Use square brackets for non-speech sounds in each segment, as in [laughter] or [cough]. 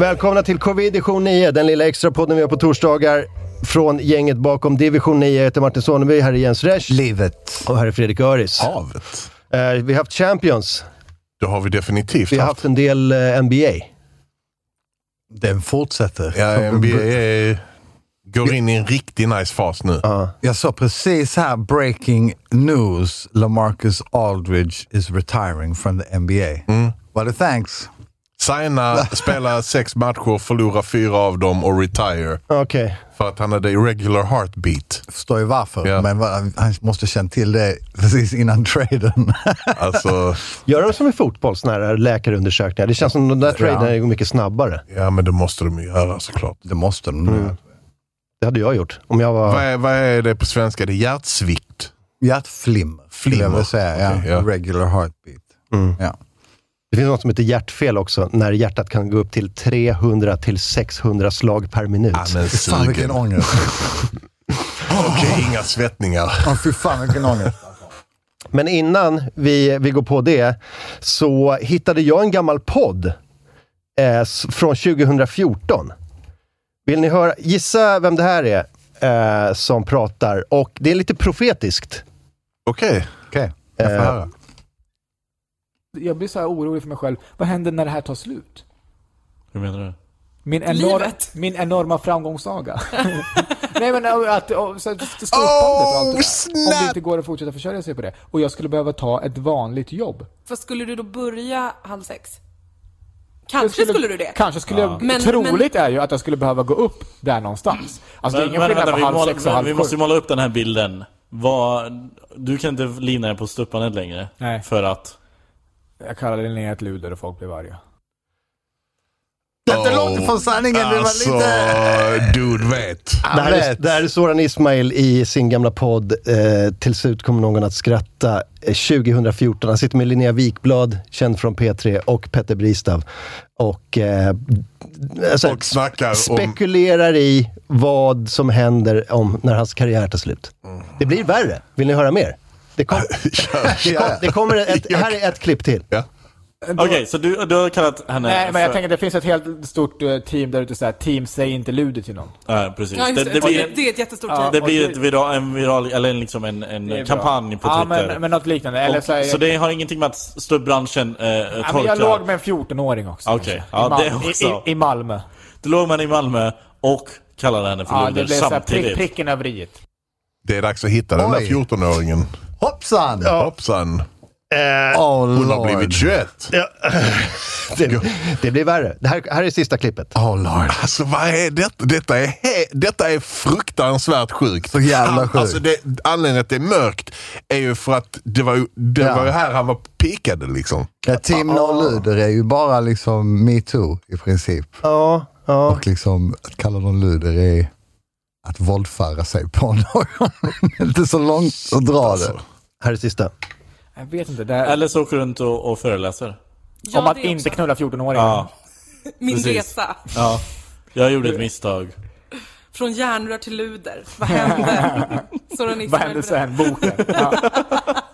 Välkomna till Covid-division 9, den lilla extra podden vi har på torsdagar från gänget bakom Division 9. Jag heter Martin Soneby, här är Jens Resch Livet. och här är Fredrik Öris. Havet. Eh, vi har haft Champions, Det har vi definitivt vi har haft. haft en del eh, NBA. Den fortsätter. Ja, NBA är, går in i en riktigt nice fas nu. Jag sa precis här, breaking news, LaMarcus Aldridge is retiring from the NBA. Var det thanks? Signa, [laughs] spela sex matcher, förlora fyra av dem och retire. Okej. För att han hade irregular heartbeat. Jag förstår ju varför, Ja. men vad- han måste ha känt till det precis innan traden. Alltså, [laughs] Gör de som i fotboll, såna här läkarundersökningar? Det känns som de där traderna går mycket snabbare. ja men det måste de ju göra såklart. det måste de nu. Det hade jag gjort om jag var... Vad, är, vad är det på svenska? Det är hjärtsvikt. Hjärtflimmer, skulle jag Flimmer. vilja säga. Okej, ja. Mm. ja. Regular heartbeat. Ja. Det finns något som heter hjärtfel också, när hjärtat kan gå upp till 300 till 600 slag per minut. Han är Fan vilken sugen. Okej, ångest. inga svettningar. Oh, fy fan vilken [laughs] ångest. Men innan vi, vi går på det så hittade jag en gammal podd eh, s- från 2014. Vill ni höra? Gissa vem det här är eh, som pratar. Och det är lite profetiskt. Okej. Okej, jag får Eh, höra. jag blir så här orolig för mig själv. Vad händer när det här tar slut? Hur menar du? Min, enor- Livet. min enorma [laughs] framgångssaga. Nej men äh, att, och, så, så stolpandet och allt det där. Om det inte går att fortsätta försörja sig på det. Och jag skulle behöva ta ett vanligt jobb. Fast skulle du då börja halv sex? Jag Kanske skulle, du det. Kanske skulle jag, Men- troligt är ju att jag skulle behöva gå upp där någonstans. Alltså det är Men, ingen men, skillnad vänta, på vi, halv måla, sex och men, vi halv måste sju. ju måla upp den här bilden. Vad, du kan inte lina dig på stuppandet längre. Nej. För att... Jag kallade ner ett luder och folk blev arga. Detta låter från sanningen, det var Alltså, lite... Ah. dude vet. Det här, är, vet. det här är Soran Ismail i sin gamla podd eh, Till slut kommer någon att skratta eh, 2014. Han sitter med Linnea Wikblad, känd från P3, och Petter Bristav. Och, eh, alltså, Och snackar om... spekulerar i vad som händer om, när hans karriär tar slut. Mm. Det blir värre. Vill ni höra mer? Det, [laughs] kom, det, kom, det kommer ett, här är ett klipp till. Ja. Okej, så du, du har kallat henne Nej men jag för... tänker det finns ett helt stort eh, team där ute såhär, team säg inte luder till någon. Ja, precis. Ja, det, just det blir, det är ett jättestort Ja. ja. det blir ett viral, en viral, eller liksom en, en kampanj på Ja Twitter. men, men något liknande. Eller Och, så, här, så det har ingenting med att stubbranschen eh, Ja, men torkar. jag låg med en 14-åring också. Okej, kanske. ja, I, Mal- det också. I, i, I Malmö. Du låg med henne i Malmö och kallade henne för Ja, det luder blev så här samtidigt. prick, pricken över i. Det är dags att hitta den där Oj. 14-åringen. Hoppsan! Hoppsan. Oh, Hon har Lord. blivit 21. Det, det blir värre. Det här, här är sista klippet. Oh lord. Alltså vad är detta? Detta är, he- detta är fruktansvärt sjukt. Så jävla Han- Alltså, det, anledningen att det är mörkt är ju för att det var ju, det Ja. var ju här han var pikade liksom. Ja, Team No Luder är ju bara liksom metoo i princip. Ja, ja. Och liksom att kalla dem luder är att våldföra sig på [laughs] någon. Inte så långt att dra det. Här är sista. Jag vet inte. Det här, Eller så åker du runt och, och föreläser. Ja, om att det är inte också knulla 14-åringar. Ja. Min precis. resa. Ja. Jag gjorde ett misstag. Från järnrör till luder. [laughs] Vad hände? Soran Ismail Vad hände berättar. sen? Boken. Ja.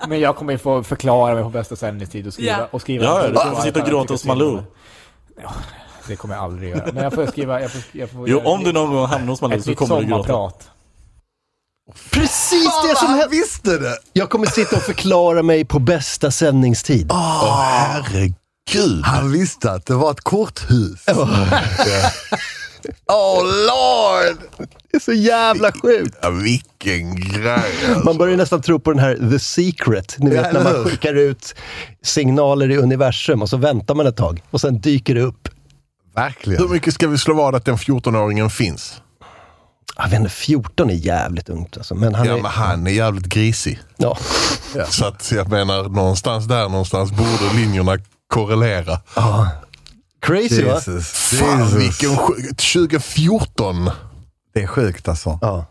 Men jag kommer ju få förklara mig på bästa sändningstid och skriva. Ja. Och skriva Ja, du kommer få sitta och gråta hos Malou. Det kommer jag aldrig göra. Men jag får skriva... Jag får, jag får Jo, göra om du någon gång hamnar hos Malou ett så nytt kommer du gråta. sommarprat. Precis det som han hände! visste det! Jag kommer sitta och förklara mig på bästa sändningstid. Herregud. Han visste att det var ett korthus. oh lord! Det är så jävla sjukt! Ja, vilken grej. alltså. Man börjar nästan tro på den här The Secret. Ni Ja, vet när eller man hur? skickar ut signaler i universum och så väntar man ett tag och sen dyker det upp. Hur Verkligen. mycket ska vi slå vad att den 14-åringen finns? Jag vet inte, 14 Ah, är jävligt ungt alltså. Men han Ja, är... men han är jävligt grisig. Ja. Så att jag menar, någonstans där någonstans borde linjerna korrelera. Crazy va? Jesus. Fan Jesus. vilken sjuk... 2014. Det är sjukt alltså. Ja.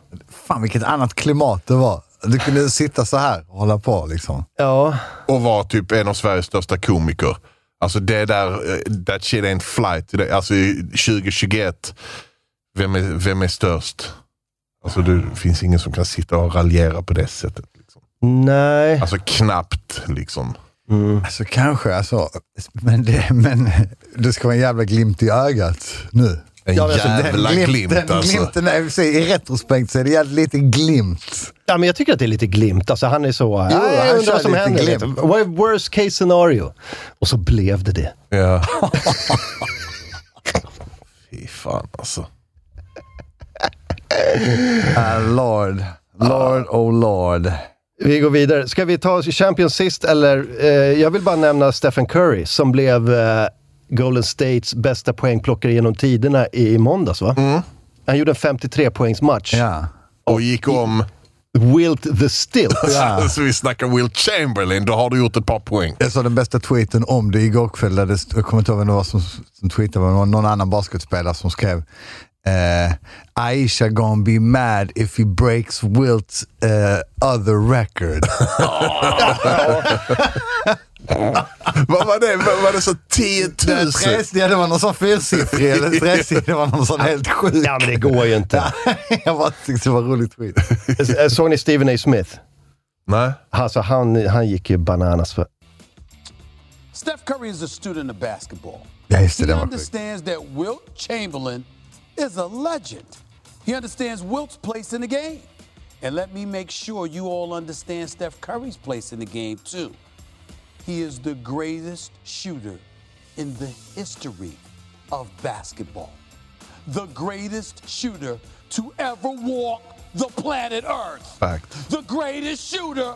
Fan vilket annat klimat det var. Du kunde sitta så här och hålla på liksom. Ja. och var typ en av Sveriges största komiker. Alltså det där, eh, that shit ain't flight. Det- Alltså i 2021, vem är, vem är störst? Alltså det finns ingen som kan sitta och raljera på det sättet. Liksom. Nej. Alltså knappt liksom. Alltså kanske, alltså, men, det, men det ska vara en jävla glimt i ögat nu. En men alltså, jävla den glimt, den alltså. Glimten, är- i och för sig, I retrospekt så är det jävligt lite glimt. Ja, men jag tycker att det är lite glimt. Alltså, han är så... Jo, "Nej, han jag undrar kör vad som lite händer. glimt. Lite. What- Worst case scenario. Och så blev det det. Ja. [laughs] Fy fan alltså. Ah, Lord, Lord, oh Lord. Vi går vidare. Ska vi ta Champions sist eller? Eh, jag vill bara nämna Stephen Curry som blev eh, Golden States bästa poängplockare genom tiderna i, i måndags va? Han gjorde en 53-poängsmatch. Ja. Och gick om, Wilt the Stilt. [laughs] så vi snackar Will Chamberlain, då har du gjort ett par poäng. Jag såg den bästa tweeten om det igår kväll. Där det, stod- jag kommer inte ihåg vem det var som, som tweetade, men det var någon annan basketspelare som skrev eh, Aisha gonna be mad if he breaks Wilt's eh, other [laughs] record. Vad var det? Var, var det så 10 000? Tres, ja, det var någon sån fyrsiffrig [laughs] eller tresiffrig. Det var någon sån helt sjuk. Ja, men det går ju inte. [laughs] Jag bara tyckte det var roligt tweet. Eh, Såg ni Stephen A. Smith? Nej. Alltså, han, han gick ju bananas för... Steph Curry is a student of basketball. Ja, just det. He Den var sjuk. understands that Wilt Chamberlain is a legend. He understands Wilt's place in the game. And let me make sure you all understand Steph Curry's place in the game, too. He is the greatest shooter in the history of basketball, the greatest shooter to ever walk the planet Earth, Fact. the greatest shooter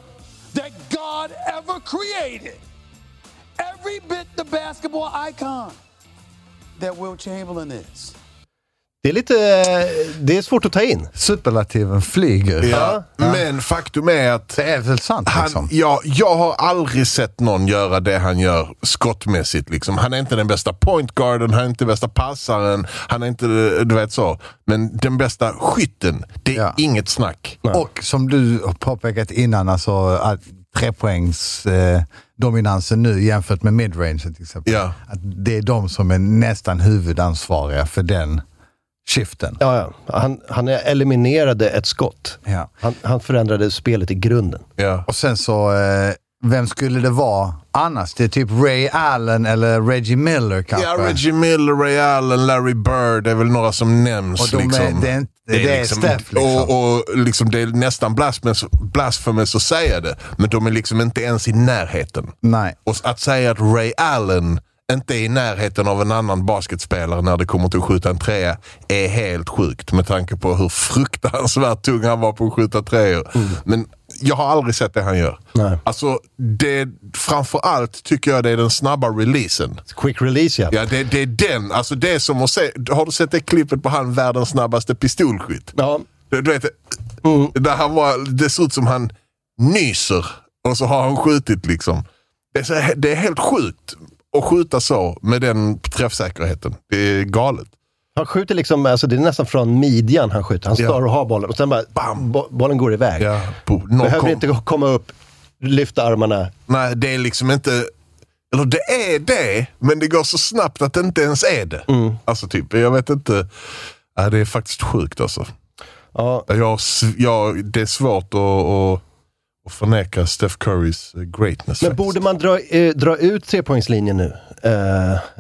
that God ever created every bit the basketball icon that Will Chamberlain is. Det är lite... eh, Det är svårt att ta in. Superlativen flyger. Ja. Men faktum är att Det är väl sant han, liksom? ja, jag har aldrig sett någon göra det han gör skottmässigt. Liksom. Han är inte den bästa pointguarden, han är inte bästa passaren, han är inte, du vet så. Men den bästa skytten, det är Ja. inget snack. Och som du har påpekat innan, alltså att trepoängs eh, dominansen nu jämfört med midrange till exempel. Ja. Att det är de som är nästan huvudansvariga för den shiften. Ja, ja. Han, han eliminerade ett skott. Ja. Han, han förändrade spelet i grunden. Ja. Och sen så, eh, vem skulle det vara annars? Det är typ Ray Allen eller Reggie Miller kanske. Ja, Reggie Miller, Ray Allen, Larry Bird, det är väl några som nämns. Och de är- liksom. det är inte- det är Steph, liksom. Och, och liksom, det är nästan blasphemous, blasphemous att säga det, men de är liksom inte ens i närheten. Nej. Och att säga att Ray Allen inte är i närheten av en annan basketspelare när det kommer till att skjuta en trea är helt sjukt med tanke på hur fruktansvärt tung han var på att skjuta treor. Men jag har aldrig sett det han gör. Nej. Alltså, det, framförallt tycker jag det är den snabba releasen. Quick release, ja. Ja, det, det är den. Alltså det är som att se, har du sett det klippet på han världens snabbaste pistolskytt? ja. Du, du vet, Mm. där han var, det ser ut som han nyser och så har han skjutit liksom. Det är, så, det är helt sjukt att skjuta så med den träffsäkerheten. Det är galet. Han skjuter liksom, alltså det är nästan från midjan han skjuter. Han Ja. står och har bollen och sen bara, bam, bo- bollen går iväg. Ja, på, någon Behöver kom, inte komma upp, lyfta armarna. Nej, det är liksom inte... Eller det är det, men det går så snabbt att det inte ens är det. Mm. Alltså typ, jag vet inte. Ja, det är faktiskt sjukt alltså. Ja, Jag, har sv- jag, det är svårt att, att, att förneka Steph Currys greatness. men faktiskt. borde man dra, eh, dra ut trepoängslinjen nu? Eh,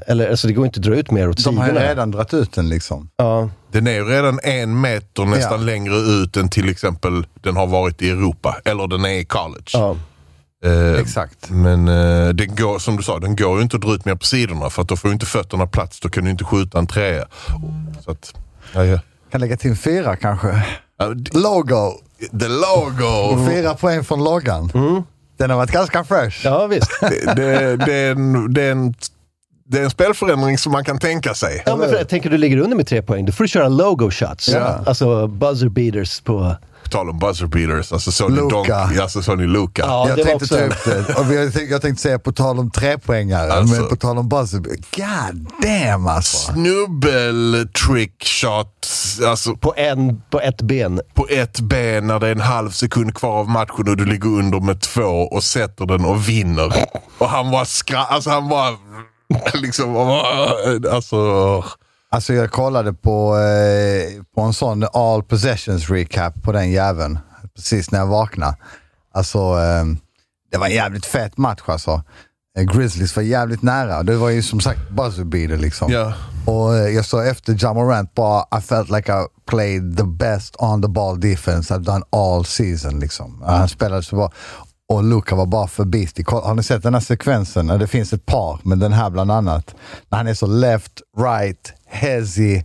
eller alltså det går inte att dra ut mer åt De har ju sidorna. redan dragit ut den liksom. Ja, Den är ju redan en meter nästan Ja. längre ut än till exempel den har varit i Europa. Eller den är i college. ja. Eh, Exakt. Men eh, den går, som du sa, den går ju inte att dra ut mer på sidorna för att då får ju inte fötterna plats. Då kan du inte skjuta en trea. Så att, ja, ja. Kan lägga till en fyra kanske. Ja, d- Logo! Mm. The logo! Fyra poäng från loggan. Den har varit ganska fresh. ja visst. Det, det, det, är en, det, är en, det är en spelförändring som man kan tänka sig. Ja, men för, jag tänker du ligger under med tre poäng, då får du köra logo shots. Ja. Alltså buzzer beaters på... På tal om buzzer beaters, alltså såg ni Luka. Donkey? Alltså såg ni Luka? Ja, jag det var tänkte också- ta upp det. Och jag, tänkte, jag tänkte säga på tal om trepoängare, Alltså. men på tal om buzzer. God damn alltså! Snubbel, trick shot, alltså På, en, på ett ben. på ett ben när det är en halv sekund kvar av matchen och du ligger under med två och sätter den och vinner. Och han var skra... Alltså han var... Liksom... och bara- Alltså... Alltså jag kollade på, eh, på en sån all possessions recap på den jäveln precis när jag vaknade. Alltså, eh, Det var en jävligt fet match alltså. Eh, Grizzlies var jävligt nära. Det var ju som sagt buzzerbeater liksom. Ja. Och eh, jag sa efter Ja Morant bara, I felt like I played the best on the ball defense I've done all season liksom. Han spelade så bra. Och Luka var bara för beastig. Kolla, Har ni sett den här sekvensen? Ja, Det finns ett par, men den här bland annat. När han är så left, right, hezzy,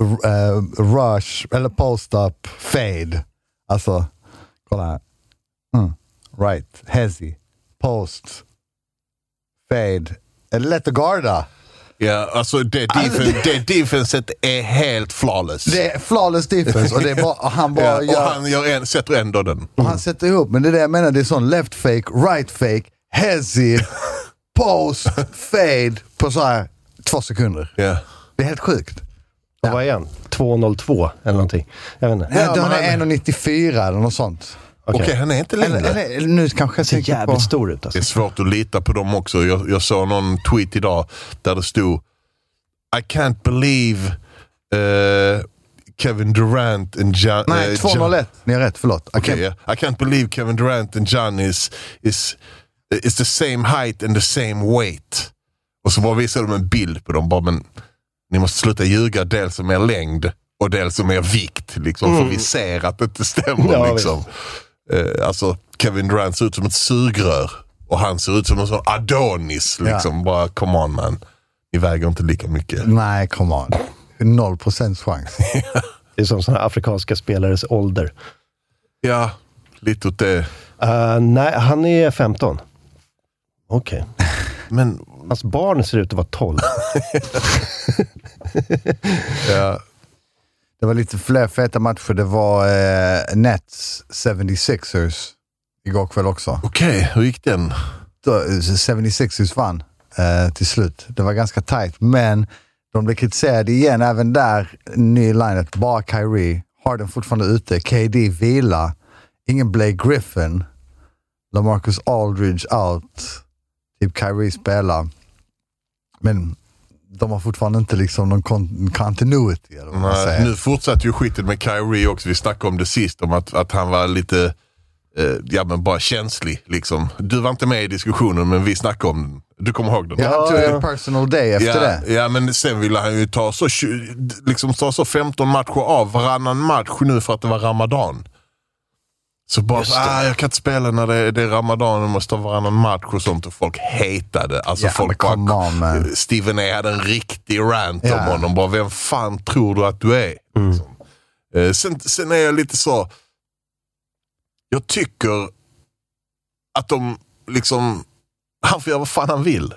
r- eh, rush, eller post-up, fade. Alltså, kolla här. Mm. Right, hezzy, post, fade. Är det lätt att garda? Ja, alltså det, defen- det defenset är helt flawless. Det är flawless defense och, det är bara, och han [laughs] bara ja, och gör, han gör en, sätter ändå den. och han sätter ihop. Men det är det jag menar, det är sån left fake, right fake, [laughs] hezzy, post, fade på så här två sekunder. Ja. Det är helt sjukt. Och vad är han? 2.02 eller någonting? Jag vet inte. Nej, men han är han- 1,94 eller något sånt. Okej, han är inte längre. Eller, eller, nu kanske jag Ser tänker på... jävligt stor ut alltså. Det är svårt att lita på dem också. Jag, jag såg någon tweet idag där det stod I can't believe eh, Kevin Durant and Gian, Nej, eh, 201. Ni har rätt, förlåt. Okej. Gian- yeah. I can't believe Kevin Durant and John is, is, is the same height and the same weight. Och så bara visade de en bild på dem. Bara, men, ni måste sluta ljuga dels om er längd och dels om er vikt. Liksom, För vi ser att det inte stämmer. Ja, liksom. eh, alltså, Kevin Durant ser ut som ett sugrör och han ser ut som en sån Adonis. Liksom. Bara, come on man. Ni väger inte lika mycket. Nej, come on. Noll procents [laughs] chans. Det är som sådana afrikanska spelares ålder. Ja, lite åt det. Eh, nej, han är 15. Okej. Men Hans barn ser ut att vara 12. ja, Det var lite fler feta matcher. Det var eh, Nets 76ers igår kväll också. okej, hur gick den? Då, eh, 76ers vann eh, till slut. Det var ganska tight, men de blev kritiserade igen även där. Ny linet, bara Kyrie. Harden fortfarande ute. KD vila. Ingen Blake Griffin. LaMarcus Aldridge out. Typ Kyrie spelar. Men de har fortfarande inte liksom någon kon- continuity. Eller vad man Nej, säger. nu fortsatte ju skiten med Kyrie också. Vi snackade om det sist, om att, att han var lite, eh, ja men bara känslig liksom. Du var inte med i diskussionen, men vi snackade om den. Du kommer ihåg den? Ja, han tog en personal day efter Ja, det. ja, men sen ville han ju ta så, tju- liksom, ta så 15 matcher av varannan match nu för att det var Ramadan. Så bara, så, ah, jag kan inte spela när det, det är Ramadan, jag måste ta varannan match och sånt. Och folk hatade. Alltså Ja, folk men come bara, on, man. Steven A hade en riktig rant Ja. om honom. Bara, vem fan tror du att du är? Liksom. Eh, sen, sen är jag lite så, jag tycker att de liksom, han får göra vad fan han vill.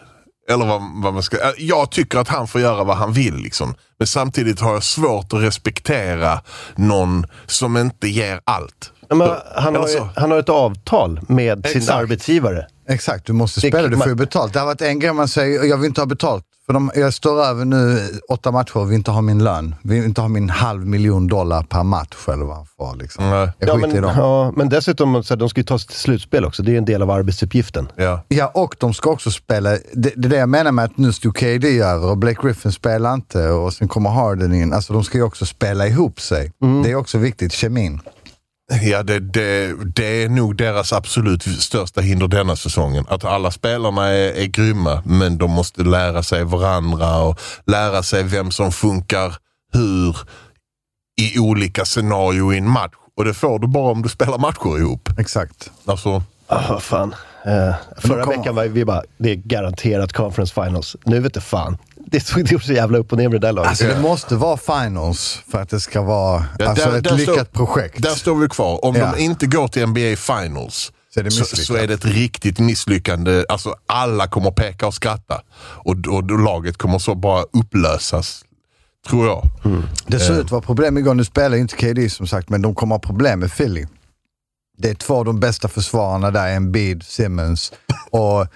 Eller vad, vad man ska, eh, jag tycker att han får göra vad han vill. Liksom. Men samtidigt har jag svårt att respektera någon som inte ger allt. Ja, Men han, har ju, Alltså. han har ett avtal med sin Exakt. arbetsgivare. Exakt, du måste Det- spela. Du får ju man- betalt. Det har varit en grej man säger, jag vill inte ha betalt. För de, jag står över nu åtta matcher och vill inte ha min lön. Vill inte ha min halv miljon dollar per match eller vad han får. Liksom. Nej. Jag Ja skiter i men, dem. ja, men dessutom, så här, de ska ju ta sig till slutspel också. Det är ju en del av arbetsuppgiften. Ja. Ja, och de ska också spela. Det, det är det jag menar med att nu stod KD över och Blake Griffin spelar inte och sen kommer Harden in. Alltså de ska ju också spela ihop sig. Mm. Det är också viktigt, kemin. Ja, det, det, det är nog deras absolut största hinder denna säsongen. Att alla spelarna är, är grymma, men de måste lära sig varandra och lära sig vem som funkar hur i olika scenario i en match. Och det får du bara om du spelar matcher ihop. Exakt. Alltså, Ah, fan. Eh, förra kom- veckan var vi bara, det är garanterat conference finals. Nu vet du fan. Det såg det gjorde så jävla upp och ner med det där laget. Alltså det måste vara finals för att det ska vara Ja, alltså, där- ett där lyckat står, projekt. Där står vi kvar. Om Ja. de inte går till NBA Finals Så är det så, misslyckat. så är det ett riktigt misslyckande. Alltså, alla kommer peka och skratta. Och, och, och laget kommer så bara upplösas, tror jag. Det Eh. ser ut att vara problem igår. Nu spelar ju inte KD som sagt, men de kommer ha problem med Philly. Det är två av de bästa försvararna där, Embiid, [laughs] Simmons. Och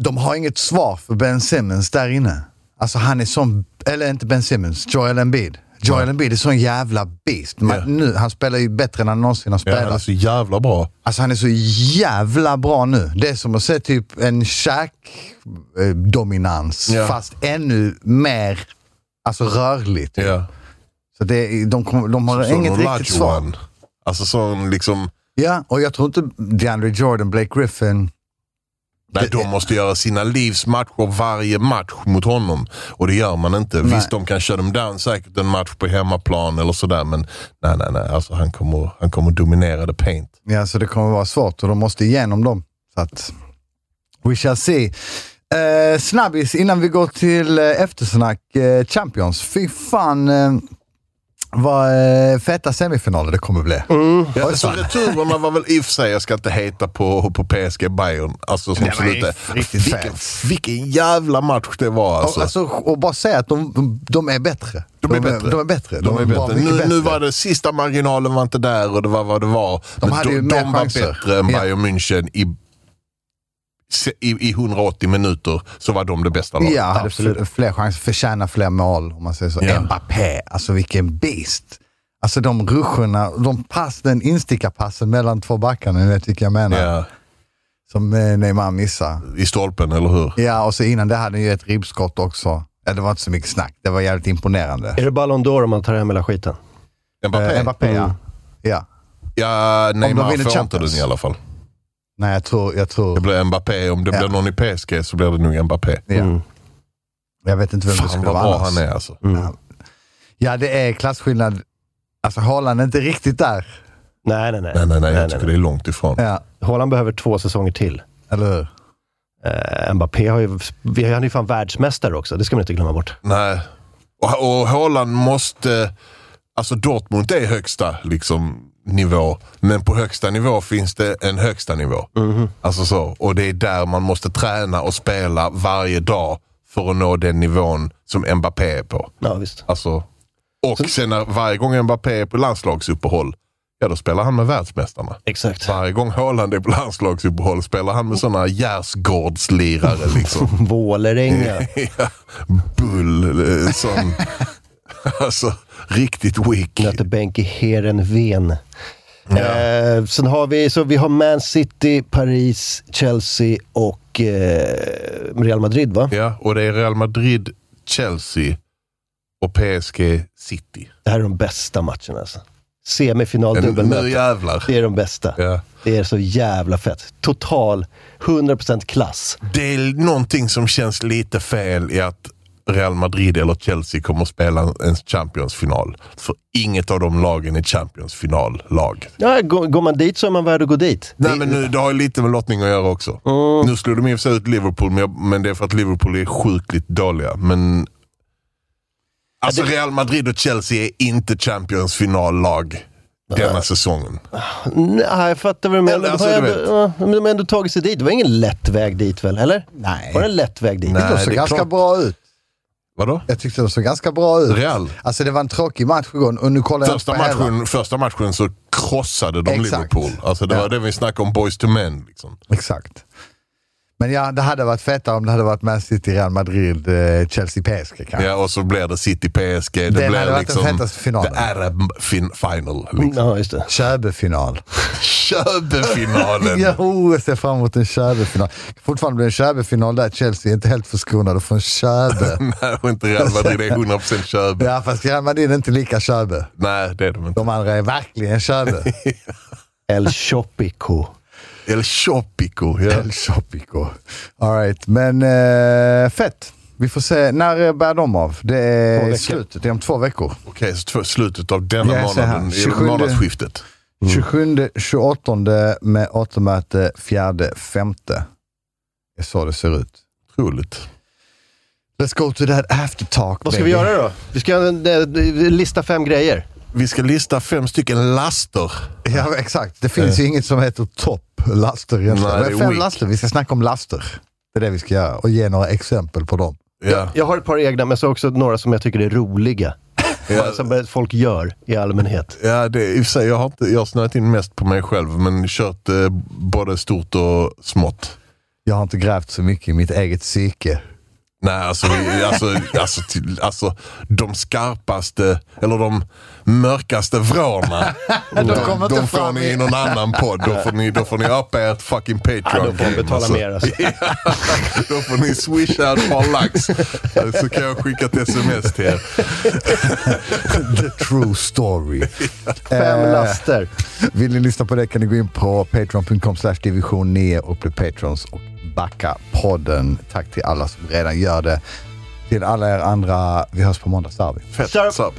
de har inget svar för Ben Simmons där inne. Alltså han är som, eller inte Ben Simmons, Joel Embiid. Joel Embiid är sån jävla beast. Man, Ja. nu, han spelar ju bättre än han någonsin har Ja, spelat. han är så jävla bra. Alltså han är så jävla bra nu. Det är som att se typ en Shaq-dominans, Ja. fast ännu mer alltså rörligt. Ja. Så det, är- de, kom, de har Som inget riktigt svar. Olajuwon. Alltså sån liksom Ja, och jag tror inte DeAndre Jordan, Blake Griffin... Nej, de måste göra sina livs matcher varje match mot honom. Och det gör man inte. Visst, de kan köra dem down säkert en match på hemmaplan eller sådär, men nej, nej, nej. Alltså, han, kommer, han kommer dominera the paint. Ja, så det kommer vara svårt och de måste igenom dem. Så att, we shall see. Eh, snabbis, innan vi går till eh, eftersnack. Eh, Champions, fy fan eh, vad eh, feta semifinaler det kommer bli. Ja, alltså, returerna var väl i och för sig, jag ska inte heta på, på PSG Bayern. Alltså som Det var ju slutet. riktigt Vilken, fett. vilken jävla match det var Och, alltså. alltså, och bara säga att de, de, de är bättre. De är bättre. De är bättre. De är bara bättre. mycket Nu, nu var det sista marginalen var inte där och det var vad det var. De Men hade ju de, mer de var chanser. bättre än Ja. Bayern München i, se- i, i 180 minuter så var de det bästa laget. Ja, hade fler, fler chanser, förtjäna fler mål om man säger så. Ja. Mbappé, alltså vilken beast. Alltså de ruscherna, de pass, den instickarpassen mellan två backarna, ni vet vilka jag menar. Ja, Som eh, Neymar missar. I stolpen, eller hur? Ja, och så innan det hade han ju ett ribbskott också. Ja, det var inte så mycket snack. Det var jävligt imponerande. Är det Ballon d'Or om man tar hem hela skiten? Mbappé? Mm. Eh, Mbappé, ja. ja. Ja, Neymar vinner får inte Champions. den i alla fall. Nej, jag tror... Jag, Det tror, blir Mbappé. Om det Ja. blir någon i PSG så blir det nog Mbappé. ja. Mm. jag vet inte vem det Fan skulle vad vara bra annars. Mm. han är alltså. Ja, det är klasskillnad. Alltså Haaland är inte riktigt där. Nej, nej, nej. Nej, nej, nej. Jag nej, tycker det är långt ifrån. Ja, Haaland behöver två säsonger till. eller hur? Eh, Mbappé har ju, vi- han är ju fan världsmästare också, det ska man inte glömma bort. Nej. Och, och Haaland måste... Alltså Dortmund är högsta liksom, nivå, men på högsta nivå finns det en högsta nivå. Mhm. Alltså så. Och det är där man måste träna och spela varje dag för att nå den nivån som Mbappé är på. Ja, visst. Alltså, och sen när, varje gång Mbappé är på landslagsuppehåll, ja då spelar han med världsmästarna. Exakt. Varje gång Haaland är på landslagsuppehåll spelar han med sådana gärdsgårdslirare liksom. [laughs] Vålerenga. Ja, Bull, eh, som... [laughs] alltså, riktigt weak. Möter Benke Heerenveen. Eh, sen har vi, så vi har Man City, Paris, Chelsea och eh, Real Madrid va? Ja, och det är Real Madrid, Chelsea och PSG City. Det här är de bästa matcherna alltså. Ja, Semifinal, nu- Nu dubbelmöte. jävlar. Det är de bästa. Ja. Det är så jävla fett. Total, 100% klass. Det är någonting som känns lite fel i att Real Madrid eller Chelsea kommer att spela en Champions-final. För inget av de lagen är Champions-final-lag. Ja, går, går man dit så är man värd att gå dit. Nej, men nu, det har ju lite med lottning att göra också. Nu slog de i och för sig ut Liverpool, men, jag, men det är för att Liverpool är sjukligt dåliga. Men... Alltså Real Madrid och Chelsea är inte Champions finallag denna säsongen. Nej, jag fattar vad du menar. Eller, Men alltså, de, har du ändå, ja, men de har ändå tagit sig dit. Det var ingen lätt väg dit väl, eller? Nej. Var det en lätt väg dit? Nej, De såg det är ganska klart. bra ut. Vadå? Jag tyckte de såg ganska bra ut. Real? Alltså det var en tråkig match igår och nu kollar jag Första på hela. matchen, första matchen så krossade de Exakt. Liverpool. Alltså det Ja. var det vi snackade om, boys to men. Liksom. Exakt. Men ja, det hade varit fetare om det hade varit Man City, Real Madrid, eh, Chelsea, PSG kanske. Ja, och så blir det City PSG. Det Den hade blir varit den liksom fetaste finalen. The Arab fin final. [laughs] Liksom. Ja, just det. Köbefinal. Köbefinalen! Jo, oh, jag ser fram emot en Köbefinal. Fortfarande blir det en Köbefinal där Chelsea är inte helt förskonade från [laughs] Köbe. [laughs] Nej, och inte Real Madrid. Det är 100% Köbe. ja, fast Real Madrid är inte lika Köbe. Nej, det är de inte. De andra är verkligen Köbe. El Chopico. El Chopico. [laughs] Ja. El Chopico. All right, men eh, fett. Vi får se. När eh, bär de av? Det Två är i veckor. slutet. Det är om två veckor. Okej, så två- slutet av denna Ja, så här, månaden, 27. månadsskiftet. Mm. 27, 28 med återmöte 4, 5. Det är så det ser ut. Roligt. Let's go to that after talk. Vad ska vi baby. göra då? Vi ska eh, lista fem grejer. Vi ska lista fem stycken laster. Ja, exakt. Det finns Eh. ju inget som heter topplaster egentligen. Nej, det Men är fem weak. laster. Vi ska snacka om laster. Det är det vi ska göra och ge några exempel på dem. Ja. Jag har ett par egna, men så också några som jag tycker är roliga. Bara Som folk gör i allmänhet. Ja, det, i och för sig, jag, har inte, jag har snöat in mest på mig själv, men kört eh, både stort och smått. Jag har inte grävt så mycket i mitt eget psyke. Nej, alltså, [laughs] vi, alltså, alltså, till, alltså de skarpaste, eller de mörkaste vrårna. de kommer inte de får fram ni i- i någon annan podd. Då får ni, då får ni öppna ert fucking Patreon. Ja, då får ni betala mer, alltså. Ja, [laughs] då får ni swisha ett par lax. Så kan jag skicka ett sms till er. The true story. [laughs] Fem Eh, laster. Vill ni lyssna på det kan ni gå in på patreon.com slash division 9 och bli patrons och backa podden. Tack till alla som redan gör det. Till alla er andra, vi hörs på måndag, Sarvi. Fett. Kör. Så.